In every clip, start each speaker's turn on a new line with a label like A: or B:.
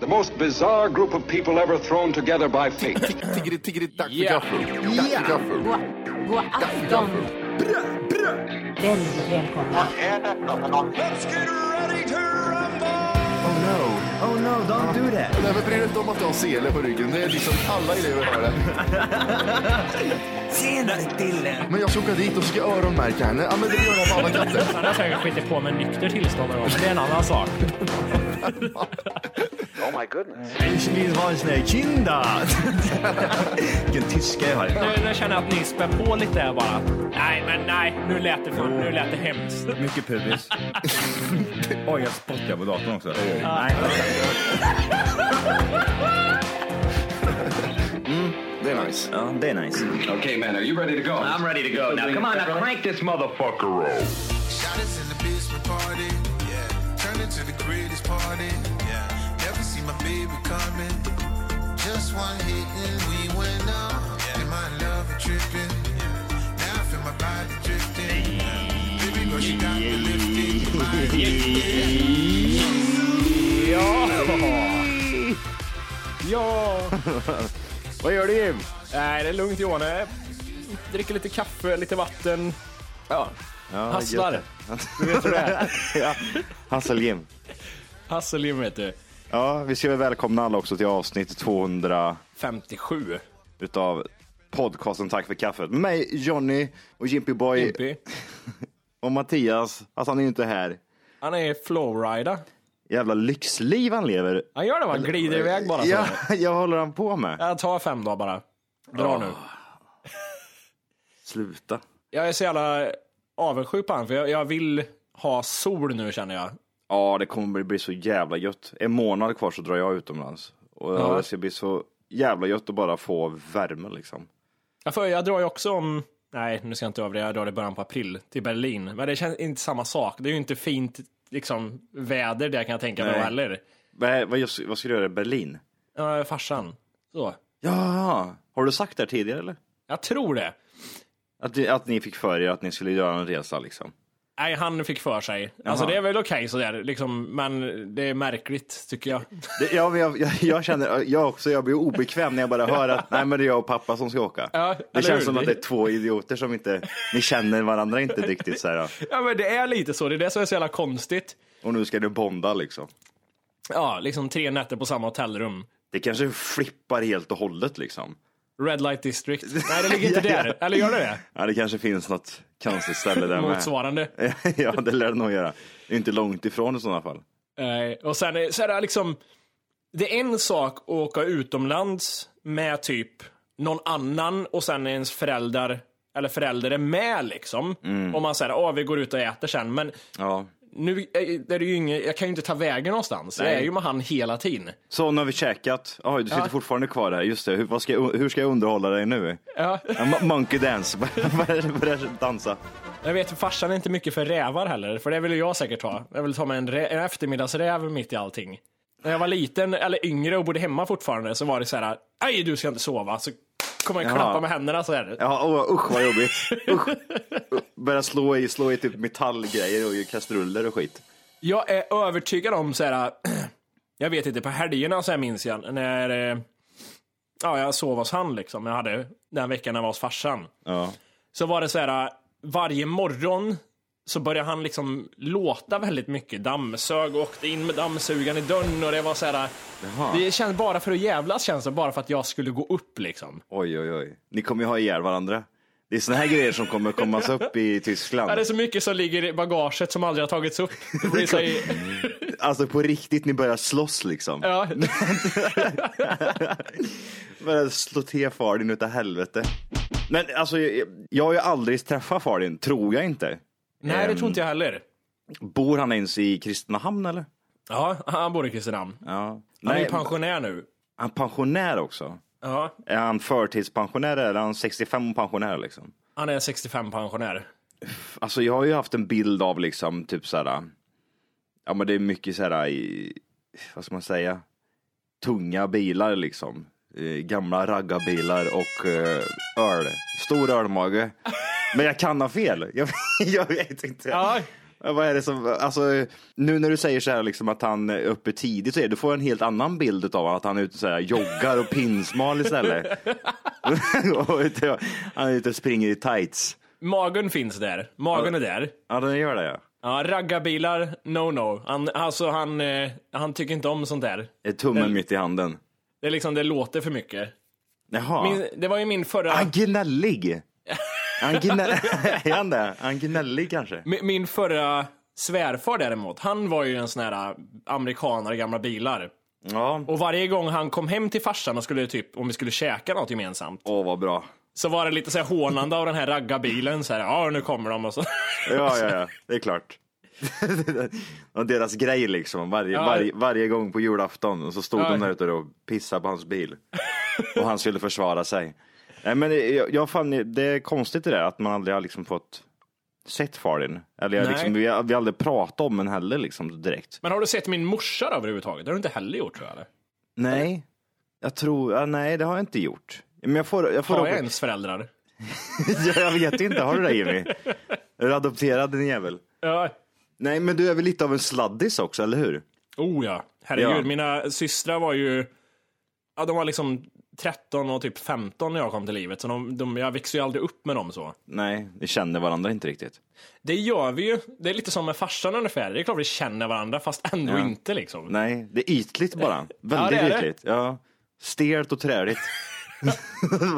A: The most bizarre group of people ever thrown together by fate.
B: Tiggeri, tiggeri, dack för
C: Yeah.
B: kaffe. Dack för kaffe.
D: God, god afton. Väldigt välkomna.
E: Oh no, oh no, don't do that.
B: Nej, men bry dig inte om att jag har sele på ryggen. Det är liksom alla elever har det.
E: Senare Dille.
B: Men jag ska åka dit och ska öronmärka henne. Ja, men det gör jag på alla katter.
F: Han har säkert skitit på med nykter tillstånd någon gång, men det är en annan sak.
E: Ich will ha en sån här kinda. Vilken tyska jag har.
F: Nu, nu känner jag att ni spär på lite här bara. Nej, men nej, nu lät det, för, nu lät det hemskt.
G: Mycket pubis. Oj, jag spottar på datorn också.
B: Det är nice.
G: Ja, det är nice.
A: okay, man, are you ready to go?
G: I'm ready to go. Now come on, now crank this motherfucker roll.
H: Shout us in the basement party. Yeah. Turn it to the greatest party. Yeah. Never see my baby coming. Just one hit and we went on. And my love is tripping. Yeah. Now I feel my body drifting. Yeah. Baby girl, she got me lifted. My
C: Ja! Vad gör du Jim? Nej, det är lugnt Johan. Jag dricker lite kaffe, lite vatten. Ja, hasslar. Du vet hur det är.
I: Hasselgim.
C: Hasseljim vet du.
I: Ja, vi ska väl välkomna alla också till avsnitt 200
C: 57.
I: utav podcasten Tack för kaffet. Med mig, Johnny och Jimpy Boy
C: Impy.
I: och Mattias. Alltså han är ju inte här.
C: Han är flowrider.
I: Jävla lyxliv han lever.
C: Han gör det, va? han glider iväg bara.
I: Ja,
C: Ja.
I: jag håller han på med.
C: Jag tar fem dagar bara. Dra nu.
I: Sluta.
C: Jag är så jävla avundsjuk på honom, för jag, jag vill ha sol nu känner jag.
I: Ja, det kommer bli så jävla gött. En månad kvar så drar jag utomlands. Och
C: Ja.
I: det ska bli så jävla gött att bara få värme liksom.
C: Ja, för jag drar ju också om, nej nu ska jag inte överdriva, jag drar i början på april till Berlin. Men det känns inte samma sak. Det är ju inte fint liksom, väder där kan jag tänka mig
I: Nej.
C: heller.
I: Vad, vad, vad ska du göra i Berlin?
C: Uh, farsan. Så.
I: Ja, har du sagt det här tidigare eller?
C: Jag tror det.
I: Att, ni- att ni fick för er att ni skulle göra en resa liksom?
C: Nej, han fick för sig. Alltså
I: Jaha.
C: det är väl okej sådär, liksom, men det är märkligt tycker jag.
I: Det, ja, men jag, jag, jag känner, jag också, jag blir obekväm när jag bara hör att nej men det är jag och pappa som ska åka.
C: Ja,
I: det
C: eller
I: känns
C: hur?
I: som att det är två idioter som inte, ni känner varandra inte riktigt så här. ja.
C: Ja men det är lite så, det är det som är så jävla konstigt.
I: Och nu ska du bonda liksom.
C: Ja, liksom tre nätter på samma hotellrum.
I: Det kanske flippar helt och hållet liksom.
C: Red light district. Nej, det ligger inte
I: Ja, ja.
C: där. Eller gör det det?
I: Ja, det kanske finns något konstigt ställe där med.
C: Motsvarande.
I: ja, det lär det nog göra. Det är Inte långt ifrån i sådana fall.
C: Nej, Eh, och sen är, så är det liksom, det är en sak att åka utomlands med typ någon annan och sen är ens föräldrar eller förälder är med liksom. Och man säger, åh vi går ut och äter sen. Men
I: Ja.
C: nu är är det ju ingen, jag kan ju inte ta vägen någonstans. Jag är ju med han hela tiden.
I: Så nu har vi käkat. Oj, du sitter fortfarande kvar här. Just det, hur, vad ska, jag- hur ska jag underhålla dig nu?
C: Ja.
I: Ja, mo- Monkey dance, börja börja dansa.
C: Jag vet, farsan är inte mycket för rävar heller, för det vill jag säkert ha. Jag vill ta med en, rä- en eftermiddagsräv mitt i allting. När jag var liten, eller yngre och bodde hemma fortfarande, så var det så här, aj du ska inte sova. Så kommer jag
I: Jaha.
C: klappa med händerna så här.
I: Ja, åh, usch vad jobbigt. Usch. Börja slå i, slå i typ metallgrejer och i kastruller och skit.
C: Jag är övertygad om så här. jag vet inte, på helgerna så här minns jag när eh, ja, jag sov hos han liksom. Jag hade den veckan när jag var hos farsan.
I: Ja.
C: Så var det så här, varje morgon så började han liksom låta väldigt mycket. Dammsög och åkte in med dammsugaren i dörren och det var så här. Det känns bara för att jävlas känns det, bara för att jag skulle gå upp liksom.
I: Oj, oj, oj. Ni kommer ju ha ihjäl varandra. Det är såna här grejer som kommer kommas upp
C: Ja,
I: i
C: det är
I: Tyskland.
C: så mycket som ligger i bagaget som aldrig har tagits upp. Det blir så,
I: Alltså på riktigt, ni börjar slåss liksom.
C: ja,
I: Börjar slå till Fardin utav helvete. Men alltså, jag, jag har ju aldrig träffat Fardin, tror jag inte.
C: nej, det tror inte jag heller.
I: Bor han ens i Kristinehamn eller?
C: Ja, han bor i Kristinehamn.
I: Ja.
C: Han är
I: Nej,
C: ju pensionär nu.
I: han är pensionär också.
C: Ja,
I: Är han förtidspensionär eller är han 65 pensionär liksom?
C: han är 65-pensionär.
I: Alltså jag har ju haft en bild av liksom typ såhär, ja men det är mycket såhär, i- vad ska man säga, tunga bilar liksom. Eh, Gamla raggarbilar och eh, öl, stor ölmage. Men jag kan ha fel, jag, jag vet inte.
C: Ja,
I: Vad är det som, alltså, nu när du säger så här liksom att han är uppe tidigt, så är det, du får en helt annan bild av honom, att han är ute och så här, joggar och pinsmal istället. och ute, han är ute och springer i tights.
C: Magen finns där. Magen är där.
I: Ja, den gör det ja.
C: Ja, raggarbilar, no no. Han, alltså han, eh, han tycker inte om sånt där.
I: Är Eh, Tummen mitt i handen.
C: Det är liksom, det låter för mycket.
I: Jaha.
C: Min, det var ju min förra,
I: Han gnällig. Han gnäll... är han det? Han gnällig kanske?
C: mi- min förra svärfar däremot, han var ju en sån här eh, amerikanare i gamla bilar.
I: Ja.
C: Och varje gång han kom hem till farsan och skulle typ, om vi skulle käka något gemensamt,
I: Åh, vad bra.
C: så var det lite så här hånande av den här raggarbilen. Så här, ja nu kommer de och så.
I: Ja, ja, ja. Det är klart. och deras grej liksom. Varje,
C: Ja.
I: varje, varje gång på julafton och så stod
C: Ja.
I: de där ute och pissade på hans bil. och han skulle försvara sig. Nej, men eh, jag, jag fann ju- det är konstigt det där att man aldrig har liksom fått sett Farin. Eller jag
C: Nej.
I: liksom, vi, har, vi har aldrig pratat om den heller liksom direkt.
C: Men har du sett min morsa då överhuvudtaget? Det har du inte heller gjort tror jag eller?
I: Nej, jag tror, ja, nej det har jag inte gjort. Men jag får, jag får
C: Har jag ens föräldrar?
I: Ja, jag vet inte, har du det Jimmy? Är du adopterad din jävel?
C: Ja.
I: Nej, men du är väl lite av en sladdis också, eller hur?
C: Oh ja, herregud.
I: Ja.
C: Mina systrar var ju, ja de var liksom 13 och typ 15 när jag kom till livet. Så de, de, jag växte ju aldrig upp med dem så.
I: Nej, vi känner varandra inte riktigt.
C: Det gör vi ju. Det är lite som med farsan ungefär. Det är klart vi känner varandra fast ändå
I: Ja.
C: inte liksom.
I: Nej, det är ytligt bara. Väldigt
C: det är det.
I: ytligt. Ja, stelt och träligt.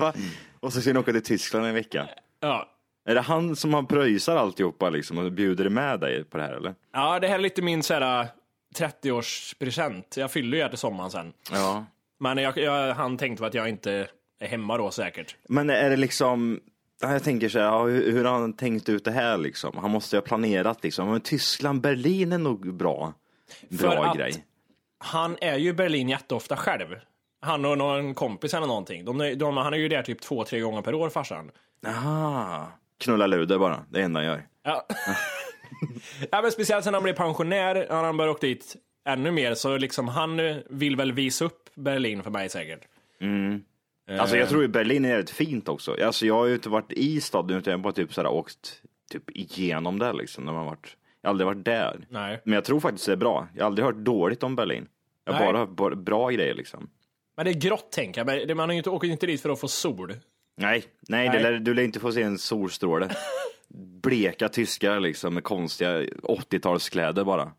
I: Va? och så ska ni åka till Tyskland en vecka.
C: Ja.
I: Är det han som har pröjsar alltihopa liksom och bjuder med dig på det här eller?
C: ja, det här är lite min så här 30-årspresent. Jag fyller ju här till sommaren sen.
I: Ja.
C: Men jag, jag, han tänkte väl att jag inte är hemma då säkert.
I: Men är det liksom, ja, jag tänker så här, ja, hur, hur har han tänkt ut det här liksom? Han måste ju ha planerat liksom. Men Tyskland, Berlin är nog bra. Bra
C: att-
I: grej.
C: Han är ju i Berlin jätteofta själv. Han och någon kompis eller någonting. De, de, han är ju där typ två, tre gånger per år farsan.
I: Ah, knulla luder bara, det är det enda han gör.
C: Ja. ja, men speciellt sen han blev pensionär, när han började åka dit ännu mer, så liksom han eh, vill väl visa upp Berlin för mig säkert.
I: Alltså
C: Eh.
I: jag tror ju Berlin är jävligt fint också. Alltså jag har ju inte varit i staden utan jag har bara typ såhär åkt typ igenom där liksom. När man har varit, jag har aldrig varit där.
C: Nej.
I: Men jag tror faktiskt det är bra. Jag har aldrig hört dåligt om Berlin. Jag har
C: Nej.
I: bara hört bara bra grejer liksom.
C: Men det är grått tänker jag, men det- man har ju inte, åker ju inte dit för att få sol.
I: Nej, nej, Det
C: Nej.
I: lär, du lär inte få se en solstråle. Bleka tyskar liksom med konstiga 80-talskläder bara.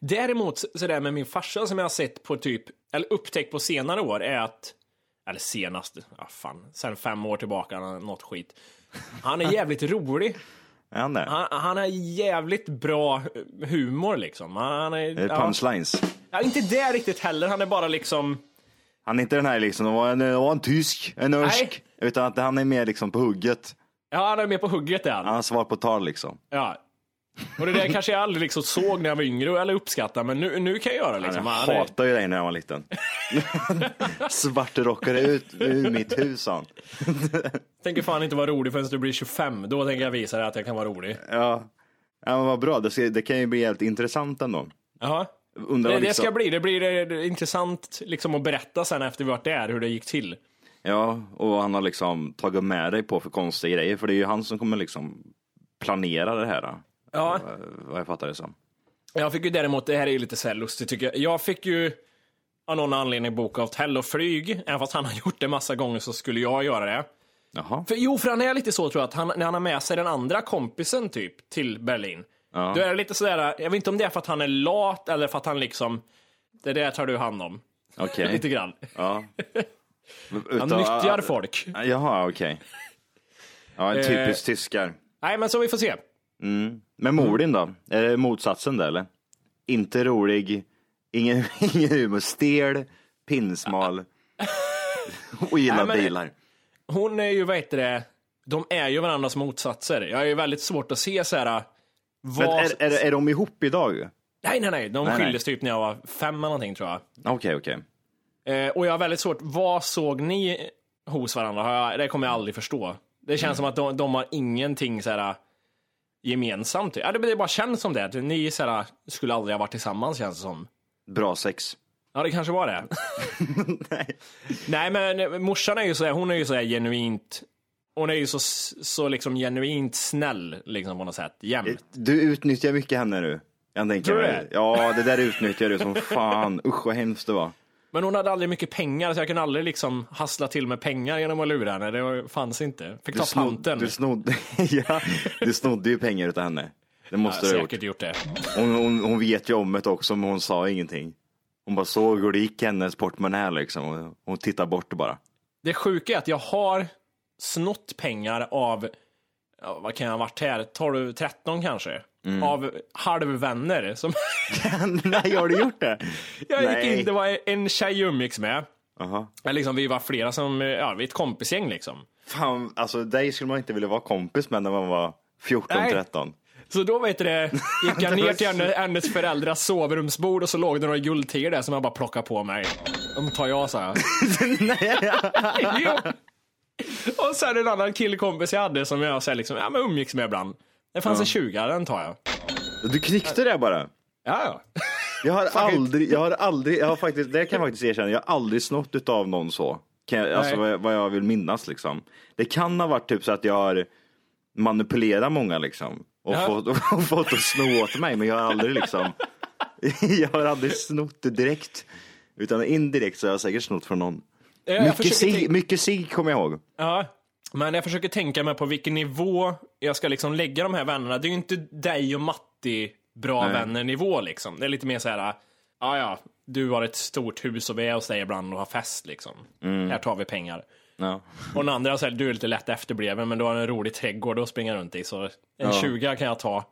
C: Däremot, så där med min farsa som jag har sett på typ, eller upptäckt på senare år, är att, eller senast, ja fan, sen fem år tillbaka, han har något skit. Han är jävligt rolig.
I: Är han det?
C: Han, han har jävligt bra humor liksom. Han, han är,
I: Är det
C: ja,
I: punchlines?
C: ja, inte det riktigt heller, han är bara liksom
I: Han är inte den här liksom, det var en, det var en tysk, en örsk. Utan att han är mer liksom på hugget.
C: Ja, han är med på hugget där.
I: Han har svar på tal liksom.
C: Ja. Och det där kanske jag aldrig liksom såg när jag var yngre eller uppskattade, men nu, nu kan jag göra det. Liksom.
I: jag
C: Han är-
I: hatade ju dig när jag var liten. Svartrockade ut ur mitt hus han.
C: tänker fan inte vara rolig förrän du blir 25. Då tänker jag visa dig att jag kan vara rolig.
I: Ja. ja men vad bra, det, ska, det kan ju bli jävligt intressant ändå.
C: Jaha.
I: Undrar
C: Det,
I: vad
C: det
I: liksom,
C: ska bli. Det blir eh, intressant liksom, att berätta sen efter vi varit där, hur det gick till.
I: Ja, och vad han har liksom tagit med dig på för konstiga grejer. För det är ju han som kommer liksom planera det här. då.
C: Ja.
I: Eh, Vad jag fattar det som.
C: Jag fick ju däremot, det här är ju lite så här lustigt tycker jag. Jag fick ju av någon anledning boka hotell och flyg. Även fast han har gjort det massa gånger så skulle jag göra det.
I: Jaha.
C: För, jo, för han är lite så tror jag, att han, när han har med sig den andra kompisen typ till Berlin. Då är det lite sådär, jag vet inte om det är för att han är lat eller för att han liksom, det där tar du hand om.
I: Okej.
C: Lite grann.
I: Ja.
C: Han
I: Utav-
C: nyttjar folk.
I: Jaha, okej. Ja, en typisk
C: Eh.
I: tyskar.
C: Nej, men så vi får se.
I: Men Morin då? Är det motsatsen där eller? Inte rolig, ingen, ingen humor, stel, pinsmal och gillar
C: Nej, men-
I: bilar.
C: Hon är ju, vad heter det, de är ju varandras motsatser. Jag är ju väldigt svårt att se såhär, vad...
I: Men är, är, är de ihop idag?
C: Nej, nej, nej, de
I: Nej, nej.
C: skildes typ när jag var fem eller någonting tror jag.
I: Okej, okej.
C: Eh, och jag har väldigt svårt, vad såg ni hos varandra? Har jag- Det kommer jag aldrig förstå. Det känns som att de, de har ingenting så här, eh, gemensamt. Ja, det, det bara känns som det. Att Ni så här, eh, skulle aldrig ha varit tillsammans känns det som.
I: Bra sex.
C: Ja, det kanske var det. eh,
I: Nej.
C: Nej, men morsan är ju så här, hon är ju så här genuint Hon är ju så, så liksom genuint snäll liksom på något sätt
I: Eh.
C: jämt.
I: Du utnyttjar mycket henne nu. Jag tänker
C: Tror du
I: mig.
C: det?
I: Ja, det där utnyttjar du som fan. Usch vad hemskt det var.
C: Men hon hade aldrig mycket pengar så jag kunde aldrig liksom hassla till med pengar genom att lura henne. Det var- fanns inte. Fick ta panten.
I: du, snod, ja, du snodde ju pengar utav henne. Det måste du ha gjort.
C: säkert gjort det.
I: Hon, hon, hon vet ju om det också men hon sa ingenting. Hon bara såg hur det gick i hennes portmonnä liksom. och Hon tittade bort bara.
C: Det sjuka är att jag har snott pengar av, ja, vad kan jag ha varit här, 12, 13 kanske?
I: Mm.
C: Av halvvänner. Som
I: Nej, har du gjort det?
C: jag gick
I: Nej.
C: in, det var en tjej jag umgicks med.
I: Aha.
C: Men liksom, vi var flera som, ja, vi är ett kompisgäng liksom.
I: Fan, alltså dig skulle man inte vilja vara kompis med när man var
C: Nej.
I: 14-13.
C: Så då vet du det, gick jag
I: Det
C: ner
I: var
C: till henne- hennes föräldrars sovrumsbord och så låg det några guldtigor där som jag bara plockade på mig. De tar jag, sa jag. Jo. Och sen en annan killkompis jag hade som jag så här, liksom, ja, men umgicks med ibland. Det fanns en 20 den tar jag.
I: Du knyckte det bara.
C: Ja, ja.
I: Jag har aldrig, jag har aldrig, jag har faktiskt, det kan jag faktiskt erkänna, jag har aldrig snott utav någon så. Kan jag, alltså vad jag, vad jag vill minnas liksom. Det kan ha varit typ så att jag har manipulerat många liksom. Och
C: Ja.
I: fått, och fått att sno åt mig, men jag har aldrig liksom, jag har aldrig snott det direkt. Utan indirekt så har jag säkert snott från någon.
C: Jag
I: Mycket
C: försöker
I: sig,
C: tänka-
I: mycket sig kommer jag ihåg.
C: Ja, men jag försöker tänka mig på vilken nivå jag ska liksom lägga de här vännerna. Det är ju inte dig och Matti bra vänner nivå liksom. Det är lite mer så här, ja ja, du har ett stort hus och vi är hos dig ibland och har fest liksom. Här tar vi pengar.
I: Ja.
C: Och den andra, så här, du är lite lätt efterbliven men du har en rolig trädgård att springa runt i så en 20 kan jag ta.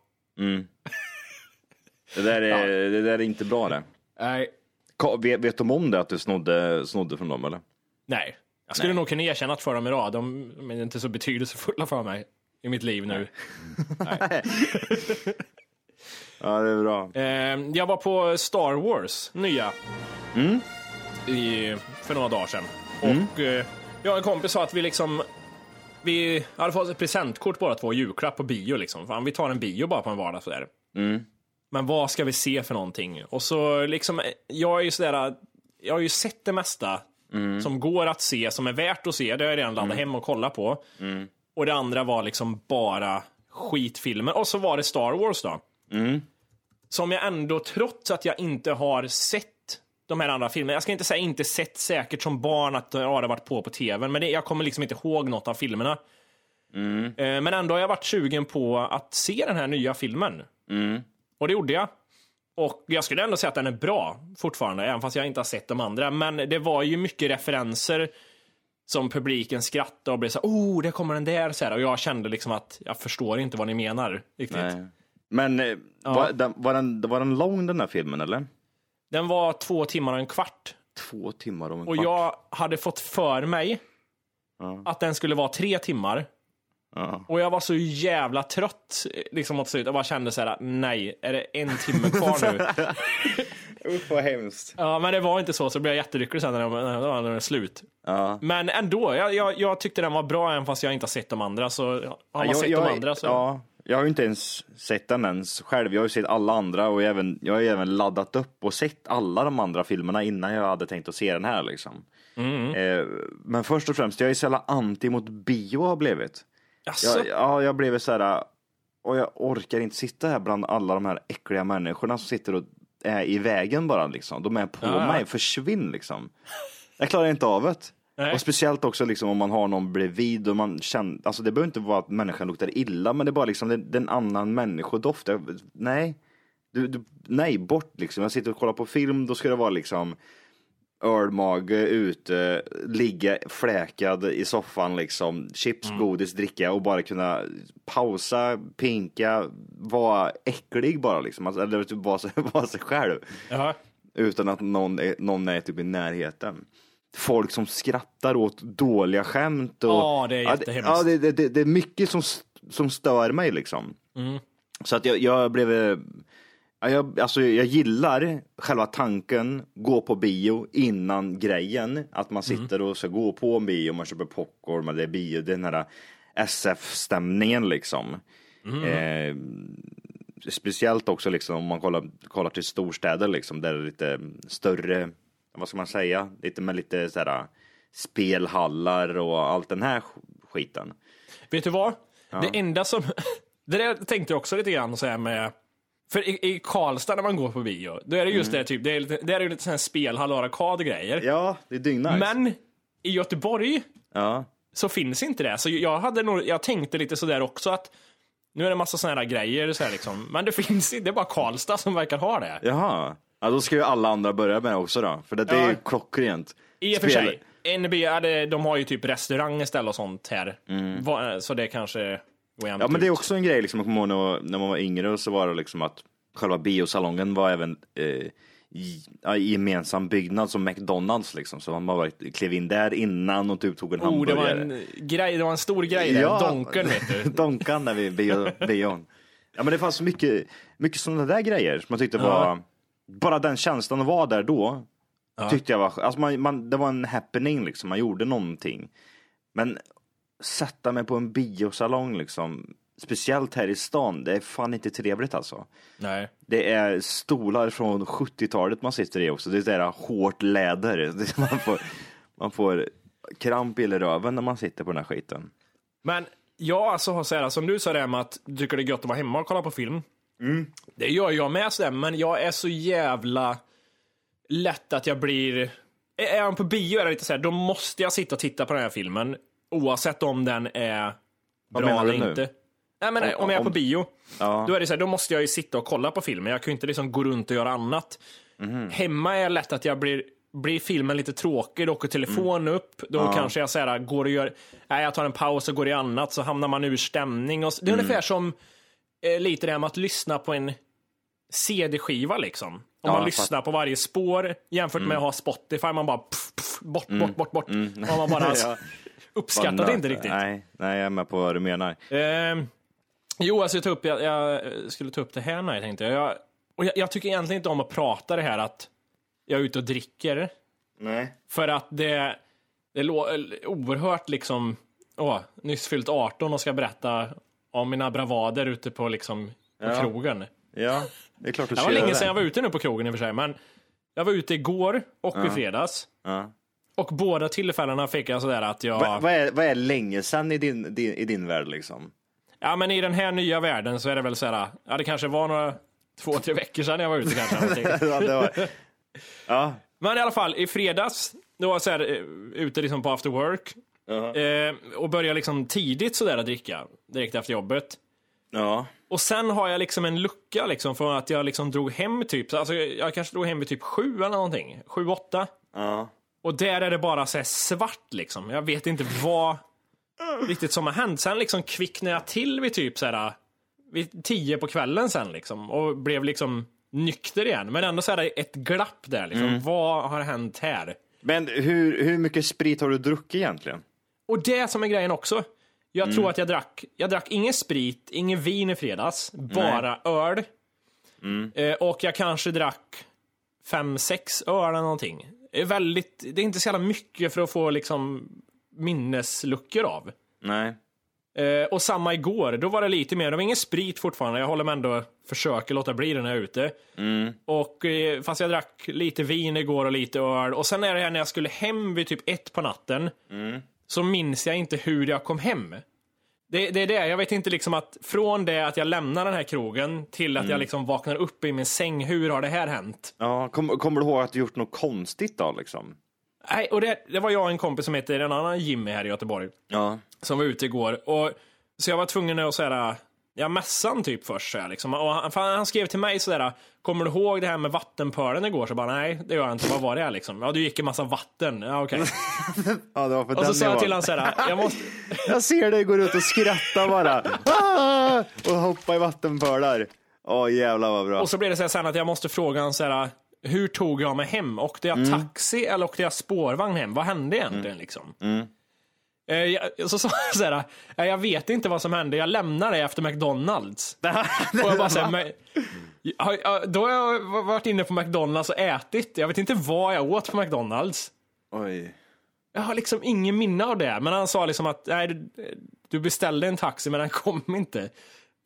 I: Det, där är, det där är inte bra det.
C: Nej.
I: Ka- Vet, vet de om det att du snodde, snodde från dem eller?
C: Nej. Jag skulle nog kunna erkänna att för dem idag, de, de är inte så betydelsefulla för mig i mitt liv nu.
I: Ja det är bra.
C: Eh, jag var på Star Wars, nya. I, för några dagar sedan. Och eh, jag och en kompis sa att vi liksom... Vi hade fått ett presentkort båda två, julklapp på bio liksom. Fan, vi tar en bio bara på en vardag sådär. Men vad ska vi se för någonting? Och så liksom, eh, jag är ju sådär... Jag har ju sett det mesta som går att se, som är värt att se. Det har jag redan laddat hem och kollat på. Och det andra var liksom bara skitfilmer. Och så var det Star Wars då som jag ändå, trots att jag inte har sett de här andra filmerna, jag ska inte säga inte sett säkert som barn att ja, det har varit på på tvn, men det, jag kommer liksom inte ihåg något av filmerna. Eh, Men ändå har jag varit sugen på att se den här nya filmen. Och det gjorde jag. Och jag skulle ändå säga att den är bra fortfarande, även fast jag inte har sett de andra. Men det var ju mycket referenser som publiken skrattade och blev så här, oh, där kommer den där. Så här, och jag kände liksom att jag förstår inte vad ni menar riktigt.
I: Nej. Men eh, var, den, var, den, var den lång den här filmen eller?
C: Den var två timmar och en kvart.
I: Två timmar om en
C: Och
I: kvart.
C: jag hade fått för mig att den skulle vara tre timmar.
I: Ja.
C: Och jag var så jävla trött liksom mot slutet. Jag bara kände så här, nej, är det en timme kvar nu?
I: Uff vad hemskt.
C: ja, men det var inte så, så blev jag jättelycklig sen när den när den var slut.
I: Ja.
C: Men ändå, jag, jag, jag tyckte den var bra även fast jag inte har sett de andra. Så har man sett de andra så...
I: Ja, jag har ju inte ens sett den ens själv. Jag har ju sett alla andra och jag, har även, jag har ju även laddat upp och sett alla de andra filmerna innan jag hade tänkt att se den här liksom.
C: Mm.
I: Eh, men först och främst, jag är ju så jävla anti mot bio har blivit.
C: Jaså?
I: Jag, ja, jag blev så här. Och jag orkar inte sitta här bland alla de här äckliga människorna som sitter och är i vägen bara liksom. De är på
C: Ja, ja.
I: mig, försvinn liksom. Jag klarar inte av det.
C: Nej.
I: Och speciellt också liksom om man har någon bredvid och man känner, alltså det behöver inte vara att människan luktar illa, men det är bara liksom den, den annan människodoft. Jag- Nej, du, du, nej, bort liksom. Jag sitter och kollar på film, då ska det vara liksom ölmage ute, ligga fläkad i soffan liksom, chips, godis, dricka och bara kunna pausa, pinka, vara äcklig bara liksom. Alltså, eller typ vara, sig- vara sig själv.
C: Jaha.
I: Utan att någon är, någon är typ i närheten. Folk som skrattar åt dåliga skämt. Och,
C: Ja, det är jättehemskt.
I: Ja, det, det, det, det är mycket som, s- som stör mig liksom.
C: Mm.
I: Så att jag, jag blev... eh, ja, Jag, alltså, jag gillar själva tanken, gå på bio innan grejen. Att man
C: Mm.
I: sitter och ska gå på en bio, man köper popcorn, man det är bio, det är den här SF-stämningen liksom.
C: Mm.
I: Eh, speciellt också liksom om man kollar, kollar till storstäder liksom där det är lite större, vad ska man säga, lite med lite så här spelhallar och allt den här sk- skiten.
C: Vet du vad? Det enda som... Det där tänkte jag också lite grann så här med... För i, i Karlstad när man går på bio, då är det just det typ, det är, lite, det är ju lite sån här spelhall och arkad och grejer.
I: Mm. Ja, det är dyngnice.
C: Men i Göteborg
I: Ja.
C: så finns inte det. Så jag, hade nog, jag tänkte lite sådär också att nu är det massa såna här grejer, så här liksom. men det finns inte. Det är bara Karlstad som verkar ha det.
I: Jaha. Ja, då ska ju alla andra börja med det också då. För det, det är
C: Ja.
I: ju klockrent.
C: I och för
I: Spel-
C: sig. NB, ja, det- de har ju typ restaurang istället och sånt här. Va- Så det kanske går jämnt
I: Mm. Ja, men det är
C: ut.
I: också en grej, liksom, jag kommer ihåg när jag var- när man var yngre så var det liksom att själva biosalongen var även eh, i- ja, i gemensam byggnad som McDonalds liksom. Så man bara klev in där innan och typ tog en
C: Oh, det var
I: hamburgare.
C: en, grej, det var en stor grej där, donken vet du.
I: donkan där vid bio, bion. Ja men det fanns så mycket, mycket sådana där grejer som man tyckte var, bara den känslan att vara där då, tyckte jag var, alltså man, man, det var en happening liksom, man gjorde någonting. Men sätta mig på en biosalong liksom, speciellt här i stan, det är fan inte trevligt alltså.
C: Nej.
I: Det är stolar från 70-talet man sitter i också. Det är så här hårt läder. Det- Man får, man får kramp i röven när man sitter på den här skiten.
C: Men jag alltså har så här, som du sa det här med att du tycker det är gött att vara hemma och kolla på film.
I: Mm.
C: Det gör jag med sådär, men jag är så jävla lätt att jag blir... Är är jag på bio är det lite såhär, då måste jag sitta och titta på den här filmen. Oavsett om den är
I: Vad
C: bra
I: menar du
C: eller
I: nu?
C: inte. Nej men om,
I: Om-
C: jag är på
I: om-
C: bio,
I: Ja.
C: då är det så här, då måste jag ju sitta och kolla på filmen. Jag kan ju inte liksom gå runt och göra annat.
I: Mhm.
C: Hemma är jag lätt att jag blir, blir filmen lite tråkig, då åker telefonen
I: Mm.
C: upp. Då kanske jag så här, går och gör, nej jag tar en paus och går i annat, så hamnar man ur stämning. Och, så-
I: Mm.
C: det är ungefär som eh, lite det här med att lyssna på en CD-skiva liksom. Om man
I: jag
C: lyssnar på varje spår jämfört
I: Mm.
C: med att ha Spotify, man bara pff, pff, bort, bort, bort, bort. Och man bara
I: Ja.
C: uppskattar
I: Bara
C: det inte
I: nöt-
C: riktigt.
I: Nej, nej, jag är med på vad du menar.
C: Ehm, jo, alltså jag, tar upp, jag, jag skulle ta upp det här när jag tänkte. Jag, och jag, jag tycker egentligen inte om att prata det här att jag är ute och dricker.
I: Nej.
C: För att det, det låter oerhört liksom, åh, nyss fyllt 18 och ska berätta om mina bravader ute på liksom på krogen.
I: Ja, det är klart du
C: Det
I: ska
C: var
I: göra
C: länge sedan jag var ute nu på krogen i och för sig, men jag var ute igår och i fredags.
I: Ja.
C: Och båda tillfällena fick jag sådär att jag...
I: Va, vad, är, vad är länge sedan i din, din, i din värld liksom?
C: Ja, men i den här nya världen så är det väl så här, ja det kanske var några två, tre veckor sedan jag var ute kanske. eller någonting.
I: ja, det var, ja,
C: men i alla fall, i fredags, då var jag så här, eh, ute liksom på after work eh, och började liksom tidigt sådär att dricka, direkt efter jobbet.
I: ja.
C: Och sen har jag liksom en lucka liksom från att jag liksom drog hem typ, alltså jag jag kanske drog hem vid typ sju eller någonting, sju, åtta.
I: ja.
C: Och där är det bara så här svart liksom. Jag vet inte vad riktigt som har hänt. Sen liksom kvicknade jag till vid typ så här vid tio på kvällen sen liksom och blev liksom nykter igen. Men ändå så här ett glapp där liksom. Vad har hänt här?
I: Men hur, hur mycket sprit har du druckit egentligen?
C: Och det som är grejen också. Jag tror att jag drack, jag drack ingen sprit, ingen vin i fredags, bara öl. Eh, och jag kanske drack fem, sex öl eller någonting. Det är, väldigt, det är inte så jävla mycket för att få liksom minnesluckor av.
I: Nej.
C: Eh, och samma igår, då var det lite mer, det var ingen sprit fortfarande, jag håller mig ändå, försöker låta bli det när jag är ute. Och eh, fast jag drack lite vin igår och lite öl, och sen är det här när jag skulle hem vid typ ett på natten, så minns jag inte hur jag kom hem. Det, det är det, jag vet inte liksom att från det att jag lämnar den här krogen till att jag liksom vaknar upp i min säng, hur har det här hänt?
I: Ja, kom, kommer du ihåg att du gjort något konstigt då liksom?
C: Nej, och det, det var jag och en kompis som heter en annan Jimmy här i Göteborg.
I: Ja.
C: som var ute igår. Och, så jag var tvungen att säga, ja mässan typ först. Så här, liksom. och han, fan, han skrev till mig sådär, kommer du ihåg det här med vattenpölen igår? Så jag bara, nej det gör jag inte, vad var det här liksom? Ja du gick i massa vatten, ja okej.
I: ja det var för
C: Och så
I: den
C: sa
I: nivån.
C: jag till honom såhär, jag måste...
I: Jag ser dig gå ut och skratta bara. Ah! Och hoppa i vattenpölar. Åh jävlar vad bra.
C: Och så blev det såhär sen att jag måste fråga honom såhär, hur tog jag mig hem? Åkte jag taxi eller åkte jag spårvagn hem? Vad hände egentligen liksom? Eh, jag, så sa han såhär, "Nej, jag vet inte vad som hände, jag lämnar dig efter McDonalds. Och jag bara såhär, men, har- har- då har jag varit inne på McDonalds och ätit. Jag vet inte vad jag åt på McDonalds.
I: Oj.
C: Jag har liksom ingen minne av det. Men han sa liksom att nej, du, du beställde en taxi men den kom inte.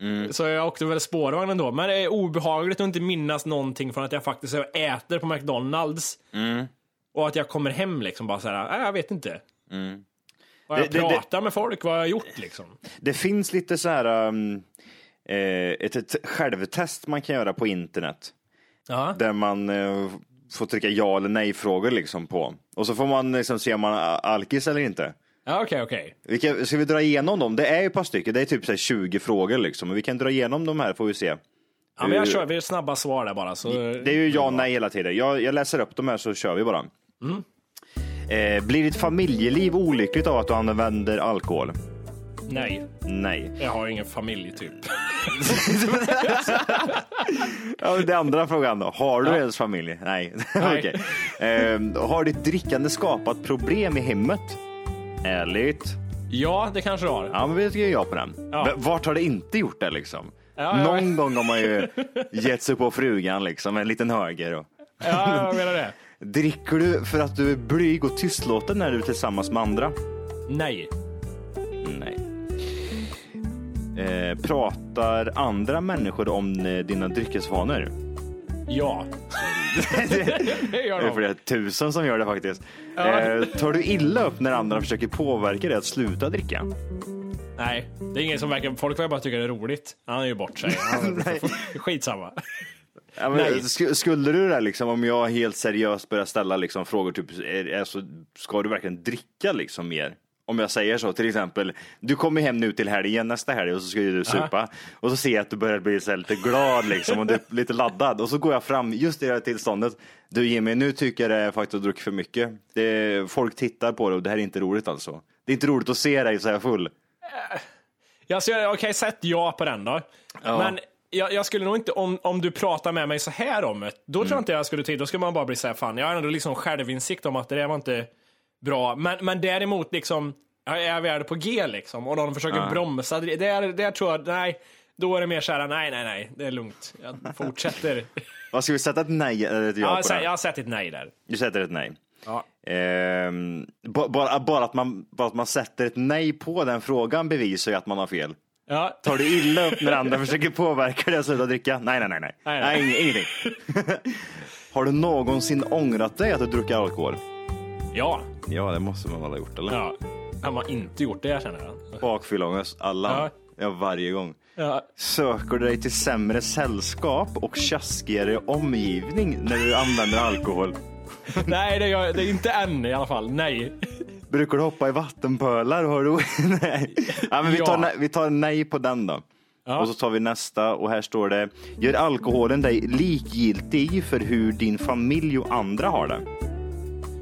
I: Mm.
C: Så jag åkte väl spårvagn ändå. Men det är obehagligt att inte minnas någonting från att jag faktiskt äter på
I: Mm.
C: McDonalds. Och att jag kommer hem liksom bara så här, nej jag vet inte. Har jag
I: Mm. Det- det- det-
C: pratat med folk? Vad har jag gjort liksom?
I: Det finns lite så här, um, eh, ett, ett självtest man kan göra på internet.
C: Ja.
I: Där man eh, får trycka ja eller nej frågor liksom på. Och så får man liksom se om man är alkis eller inte.
C: Ja, okej, okej.
I: Vi kan, ska vi dra igenom dem? Det är ju ett par stycken, det är typ så här 20 frågor liksom. Men vi kan dra igenom de här får vi se.
C: Ja, men jag kör vi snabba svar där bara. Så...
I: Det är ju ja och nej hela tiden. Jag, jag läser upp de här så kör vi bara. Eh, blir ditt familjeliv olyckligt av att du använder alkohol?
C: Nej,
I: Nej.
C: jag har ingen familj typ.
I: Ja, men det andra frågan då. Har du ens familj? Nej.
C: Nej.
I: Okej. Ehm, har ditt drickande skapat problem i hemmet? Ärligt.
C: Ja, det kanske du har.
I: Ja, men vi tycker jag på den.
C: Ja.
I: Men Vart har det inte gjort det liksom?
C: Ja, ja,
I: Någon
C: ja.
I: gång har man ju gett sig på frugan liksom, en liten höger. Och...
C: Ja, jag menar det.
I: Dricker du för att du är blyg och tystlåten när du är tillsammans med andra?
C: Nej.
I: Nej. Eh, pratar andra människor om eh, dina dryckesvanor?
C: Ja. det gör
I: Det är för
C: de.
I: det är tusen som gör det faktiskt.
C: Ja.
I: Eh, tar du illa upp när andra försöker påverka dig att sluta dricka?
C: Nej, det är ingen som verkar... Folk verkar bara tycka det är roligt. Han är ju bort sig. Han- Skitsamma.
I: Ja, men,
C: Nej.
I: sk- skulle du det liksom, om jag helt seriöst börjar ställa liksom, frågor typ, är, alltså, ska du verkligen dricka liksom mer? Om jag säger så, till exempel, du kommer hem nu till helgen, nästa helg och så ska ju du supa. Och så ser jag att du börjar bli så här lite glad liksom och du är lite laddad. Och så går jag fram just i det här tillståndet. Du Jimmy, nu tycker jag det är faktiskt att du druckit för mycket. Det, folk tittar på det och det här är inte roligt alltså. Det är inte roligt att se dig så här full.
C: Jag ser, okej, sätt ja på den då. Men jag, jag skulle nog inte, om, om du pratar med mig så här om det, då tror jag inte jag skulle till, då skulle man bara bli så här, fan, jag har ändå liksom självinsikt om att det där var inte bra. Men, men däremot liksom, jag är väl på G liksom, och någon försöker bromsa, det- där, där tror jag, nej, då är det mer så här, nej, nej, nej, det är lugnt. Jag fortsätter.
I: Vad ska vi sätta ett nej eller ett ja,
C: jag,
I: på
C: har,
I: det?
C: sä- jag har sett ett nej där.
I: Du sätter ett nej.
C: Ja.
I: Ehm, ba- bara, bara, att man, bara att man sätter ett nej på den frågan bevisar ju att man har fel.
C: Ja,
I: Tar du illa upp när andra försöker påverka dig att sluta dricka? Nej, nej, nej. Nej, nej,
C: Nej, nej.
I: ing- ingenting. har du någonsin ångrat dig att du druckit alkohol?
C: ja,
I: Ja, det måste man väl ha gjort, eller?
C: ja. Han har inte gjort det, känner jag.
I: Bakfylleångest, alla. Ja.
C: Ja.
I: varje gång.
C: Ja.
I: Söker du dig till sämre sällskap och tjaskigare omgivning när du använder alkohol?
C: Nej, det, gör, det är inte än i alla fall. Nej.
I: Brukar du hoppa i vattenpölar? Har du... nej. Ja, men vi, tar,
C: Ja.
I: nej- vi tar nej på den då.
C: Ja.
I: Och så tar vi nästa och här står det. Gör alkoholen dig likgiltig för hur din familj och andra har det?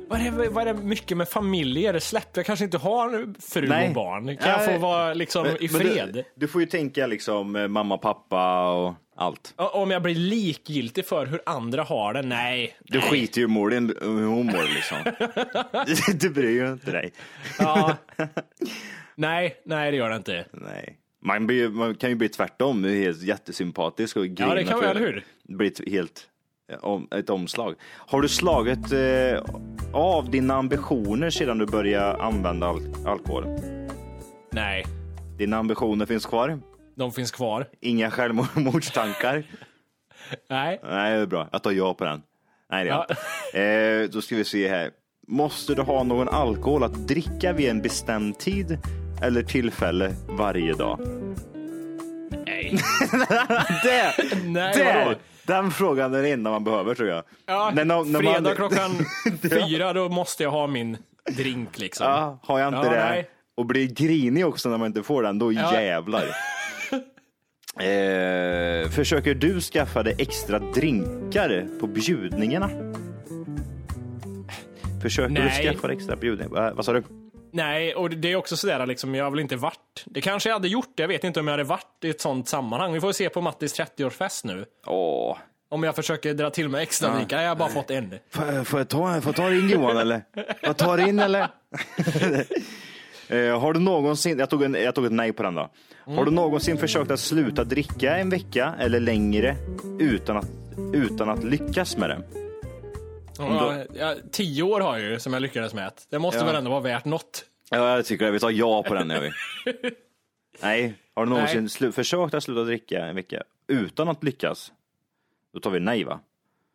C: Vad är, det- vad är det mycket med familjer? Släpp, jag kanske inte har fru
I: Nej.
C: och barn. Kan jag
I: Nej.
C: få vara liksom i
I: Men
C: fred?
I: Du, du får ju tänka liksom eh, mamma, pappa och allt.
C: O- Om jag blir likgiltig för hur andra har det? Nej.
I: Du skiter ju i mor din- hur hon mår liksom. du bryr ju inte dig.
C: Ja. nej, nej det gör det inte.
I: Nej. Man, blir, ju- man kan ju bli tvärtom, helt jättesympatisk och grina.
C: Ja, det kan man,
I: för-
C: eller hur?
I: blir ett helt eh, om, ett omslag. Har du slagit eh, av dina ambitioner sedan du började använda al- alkohol?
C: Nej,
I: Dina ambitioner finns kvar?
C: de finns kvar.
I: Inga självmordstankar?
C: Nej.
I: Nej, det är bra. Jag tar ja på den. Nej, det är jag inte. eh, Då ska vi se här. Måste du ha någon alkohol att dricka vid en bestämd tid eller tillfälle varje dag?
C: Nej.
I: Det,
C: Nej, vadå?
I: det, den frågan är den enda man behöver tror jag.
C: Ja,
I: När no- när man-
C: fredag klockan fyra, då måste jag ha min drink liksom.
I: Ja, har jag inte
C: Ja,
I: det
C: nej.
I: och blir grinig också när man inte får den, då
C: Ja.
I: jävlar. eh, försöker du skaffa dig extra drinkar på bjudningarna? Försöker
C: Nej.
I: du skaffa dig extra bjudningar? Eh, vad sa du?
C: Nej, och det är också sådär liksom, jag har väl inte varit. Det kanske jag hade gjort, jag vet inte om jag hade varit i ett sånt sammanhang. Vi får se på Mattis 30-årsfest nu.
I: Åh,
C: Om jag försöker dra till mig extra drinkar. Nej, jag har bara fått en.
I: får, får, jag ta, får jag ta det in Johan eller? Får jag ta det in eller? Eh, Har du någonsin, jag tog, en, jag tog ett nej på den då. Har du någonsin försökt att sluta dricka en vecka eller längre utan att, utan att lyckas med det?
C: Ja, ja, tio år har jag ju som jag lyckades med. Det måste väl ändå vara värt något.
I: Ja, jag tycker det. Vi tar ja på den. Gör vi. nej, har du någonsin
C: Nej.
I: slu- försökt att sluta dricka en vecka utan att lyckas? Då tar vi nej va?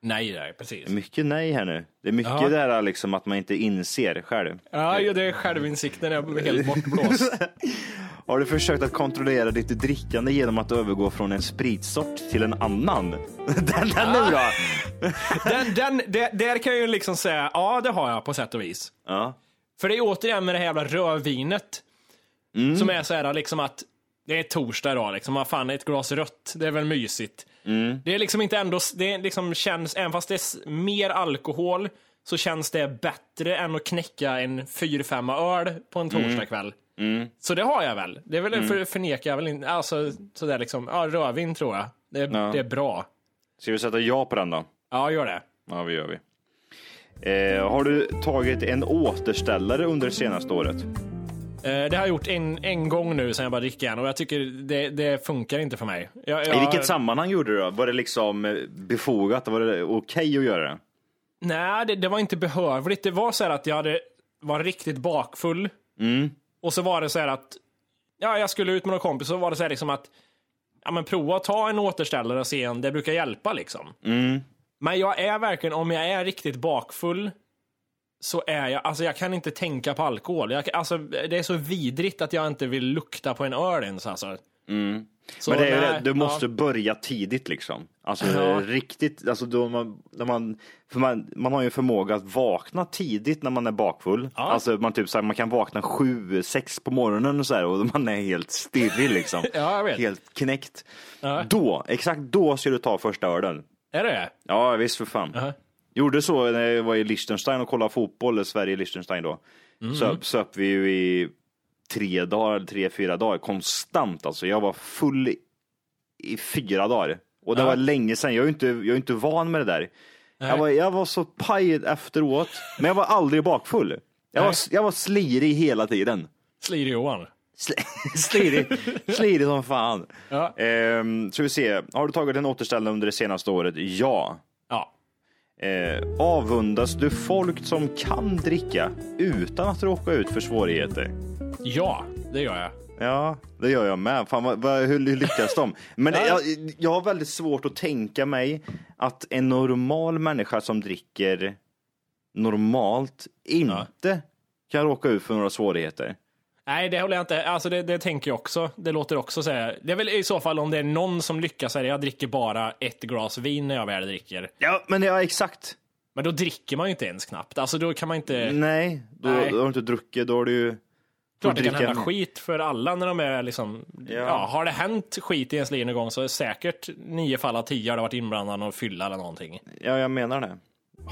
C: Nej, nej, precis.
I: Mycket nej här nu. Det är mycket
C: Ja.
I: det här liksom att man inte inser själv.
C: Ja, ju, det är självinsikten är helt bortblåst.
I: Har du försökt att kontrollera ditt drickande genom att övergå från en spritsort till en annan? Den, den nu då!
C: Den, den, där, där kan jag ju liksom säga, ja det har jag på sätt och vis.
I: Ja.
C: För det är återigen med det här jävla rödvinet.
I: Mm.
C: Som är så här liksom att det är torsdag idag liksom, vad fan ett glas rött, det är väl mysigt.
I: Mm.
C: Det är liksom inte ändå, det liksom känns, även fast det är s- mer alkohol, så känns det bättre än att knäcka en 4-5 öl på
I: Mm.
C: en torsdagkväll. Så det har jag väl. Det är väl för, förnekar jag väl inte, alltså sådär liksom, ja rödvin tror jag. Det,
I: Ja.
C: det är bra.
I: Ska vi sätta ja på den då?
C: Ja, gör det.
I: Ja, vi gör vi. Eh, har du tagit en återställare under det senaste året?
C: Eh, Det har jag gjort en, en gång nu sen jag började dricka igen och jag tycker det, det funkar inte för mig. Jag, jag,
I: I vilket sammanhang gjorde du det? Var det liksom eh, befogat? Var det okej att göra det?
C: Nej, det, det var inte behövligt. Det var så här att jag hade, var riktigt bakfull.
I: Mm.
C: Och så var det så här att ja, jag skulle ut med några kompisar och var det så här liksom att ja, men prova att ta en återställare och se om det brukar hjälpa liksom.
I: Mm.
C: Men jag är verkligen, om jag är riktigt bakfull så är jag, alltså jag kan inte tänka på alkohol. Jag, alltså, det är så vidrigt att jag inte vill lukta på en öl ens alltså. Så,
I: Mm. Men det är ju
C: nej,
I: det, du
C: ja.
I: måste börja tidigt liksom. Alltså
C: Ja.
I: riktigt, alltså då man, när man, för man, man har ju en förmåga att vakna tidigt när man är bakfull. Alltså man typ så här, man kan vakna sju, sex på morgonen och så här och man är helt stirrig liksom.
C: Ja, jag vet.
I: Helt knäckt. Då, exakt då ska du ta första ölen.
C: Är det det?
I: Ja visst för fan.
C: Jaha.
I: Gjorde så när jag var i Liechtenstein och kollade fotboll, Sverige-Liechtenstein då. Söp, söp vi ju i tre dagar, eller tre, fyra dagar konstant alltså. Jag var full i- i fyra dagar. Och det var länge sedan, jag är ju inte, jag är inte van med det där. Jag var, jag var så paj efteråt, men jag var aldrig bakfull. Jag var, jag var slirig hela tiden.
C: Slir-Johan.
I: Sl- slirig, slirig som fan.
C: Ja.
I: Ehm, ska vi se, har du tagit en återställare under det senaste året? Ja.
C: Ja.
I: Eh, avundas du folk som kan dricka utan att råka ut för svårigheter?
C: Ja, det gör jag.
I: Ja, det gör jag med. Fan, vad, vad, hur lyckas de? Men jag, jag har väldigt svårt att tänka mig att en normal människa som dricker normalt inte kan råka ut för några svårigheter.
C: Nej, det håller jag inte. Alltså det, det tänker jag också. Det låter också så här. Det är väl i så fall om det är någon som lyckas säga jag dricker bara ett glas vin när jag väl dricker.
I: Ja, men ja, exakt.
C: Men då dricker man ju inte ens knappt. Alltså då kan man inte...
I: Nej, då,
C: Nej.
I: då har du inte druckit, då har du ju...
C: klart det kan
I: dricka
C: hända
I: en-
C: skit för alla när de är liksom... Ja. har det hänt skit i ens liv någon gång så är det säkert nio fall av tio har det varit inblandad och fylla eller någonting.
I: Ja, jag menar det.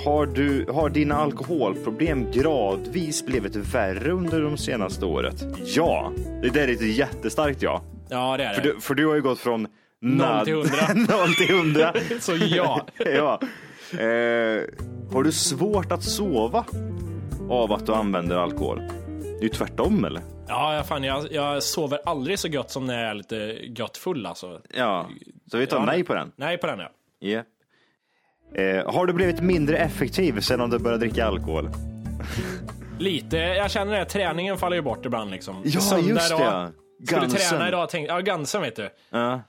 I: Har, du, har dina alkoholproblem gradvis blivit värre under de senaste året? Ja, det där är ett jättestarkt ja.
C: Ja, det är det.
I: För du, för du har ju gått från nad-
C: till hundra.
I: noll till hundra.
C: Så ja.
I: ja. eh, har du svårt att sova av att du använder alkohol? Det är ju tvärtom eller?
C: Ja, jag- fan, jag, jag sover aldrig så gött som när jag är lite gött full alltså.
I: Ja, så vi tar
C: Ja,
I: nej på den.
C: Nej på den ja.
I: Yep. Eh, har du blivit mindre effektiv sedan du började dricka alkohol?
C: Lite, jag känner det, träningen faller ju bort ibland liksom.
I: Ja,
C: Söndag
I: just det.
C: idag, Skulle
I: Gansen.
C: träna idag, tänkte, ja Gansen vet du.
I: Ja.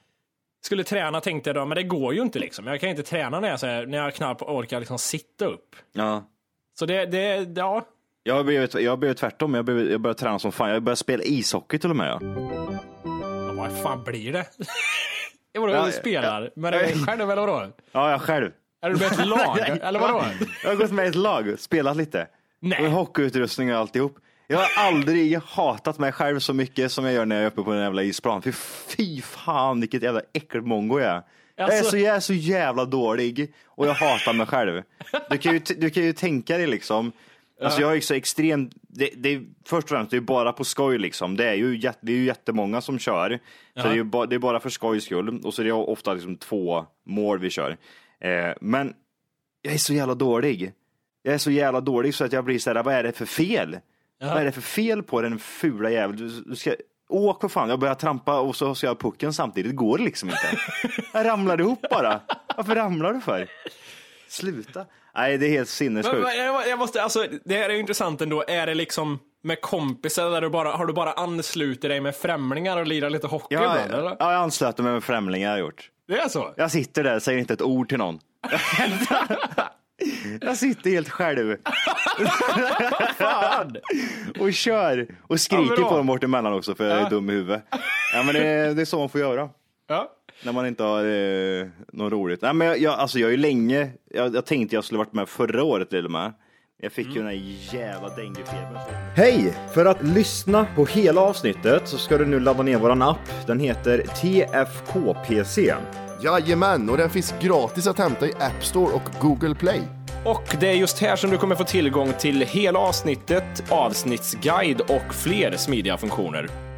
C: Skulle träna tänkte jag då, men det går ju inte liksom. Jag kan inte träna när jag, så här, när jag knappt orkar liksom sitta upp.
I: ja.
C: Så det, det ja.
I: Jag har blivit, jag har blivit tvärtom. Jag har, blivit, jag har börjat träna som fan. Jag har börjat spela ishockey till och med. Ja.
C: ja, vad fan blir det? Det var
I: Ja,
C: du spelar, men det är själv eller vadå?
I: ja, jag själv.
C: Är du med ett lag, eller vadå?
I: Jag har gått med i ett lag, spelat lite.
C: Nej.
I: Med hockeyutrustning och alltihop. Jag har aldrig hatat mig själv så mycket som jag gör när jag är uppe på den jävla isplan. Fy, fy fan vilket jävla äckelmongo jag är. Jag, är
C: Alltså-
I: så, jag är så jävla dålig och jag hatar mig själv. Du kan ju, t- du kan ju tänka dig liksom. Alltså jag är ju så extremt, det, det är, först och främst det är ju bara på skoj liksom. Det är ju, jätte, det är ju jättemånga som kör. Så det är ju ba, det är bara för skojs skull. Och så är det ofta liksom två mål vi kör. Eh, men jag är så jävla dålig. Jag är så jävla dålig så att jag blir så här, vad är det för fel? Vad är det för fel på den fula jäveln? Du, du ska, åk för fan, jag börjar trampa och så ska jag ha pucken samtidigt. Det går liksom inte. jag ramlar ihop bara. Varför ramlar du för? Sluta. Nej, det är helt
C: Men,
I: sinnessjukt.
C: men, jag, jag måste, alltså, det här är ju intressant ändå. Är det liksom med kompisar, eller du bara, har du bara anslutit dig med främlingar och lirat lite hockey
I: Ja,
C: ibland? Eller?
I: ja, jag anslöt mig med främlingar jag har gjort.
C: Det är så?
I: Jag sitter där, säger inte ett ord till någon. Jag sitter helt själv. och kör. Och skriker på dem bort emellan också för jag är dum i huvudet. Ja, men det, det är så man får göra.
C: Ja.
I: När man inte har eh, något roligt. Nej, men jag, jag, alltså, jag är ju länge, jag, jag tänkte jag skulle varit med förra året till och med. Jag fick ju den här jävla denguefebern. Hej! För att lyssna på hela avsnittet så ska du nu ladda ner våran app. Den heter TFKPC.
B: Jajamän, och den finns gratis att hämta i App Store och Google Play.
C: Och det är just här som du kommer få tillgång till hela avsnittet, avsnittsguide och fler smidiga funktioner.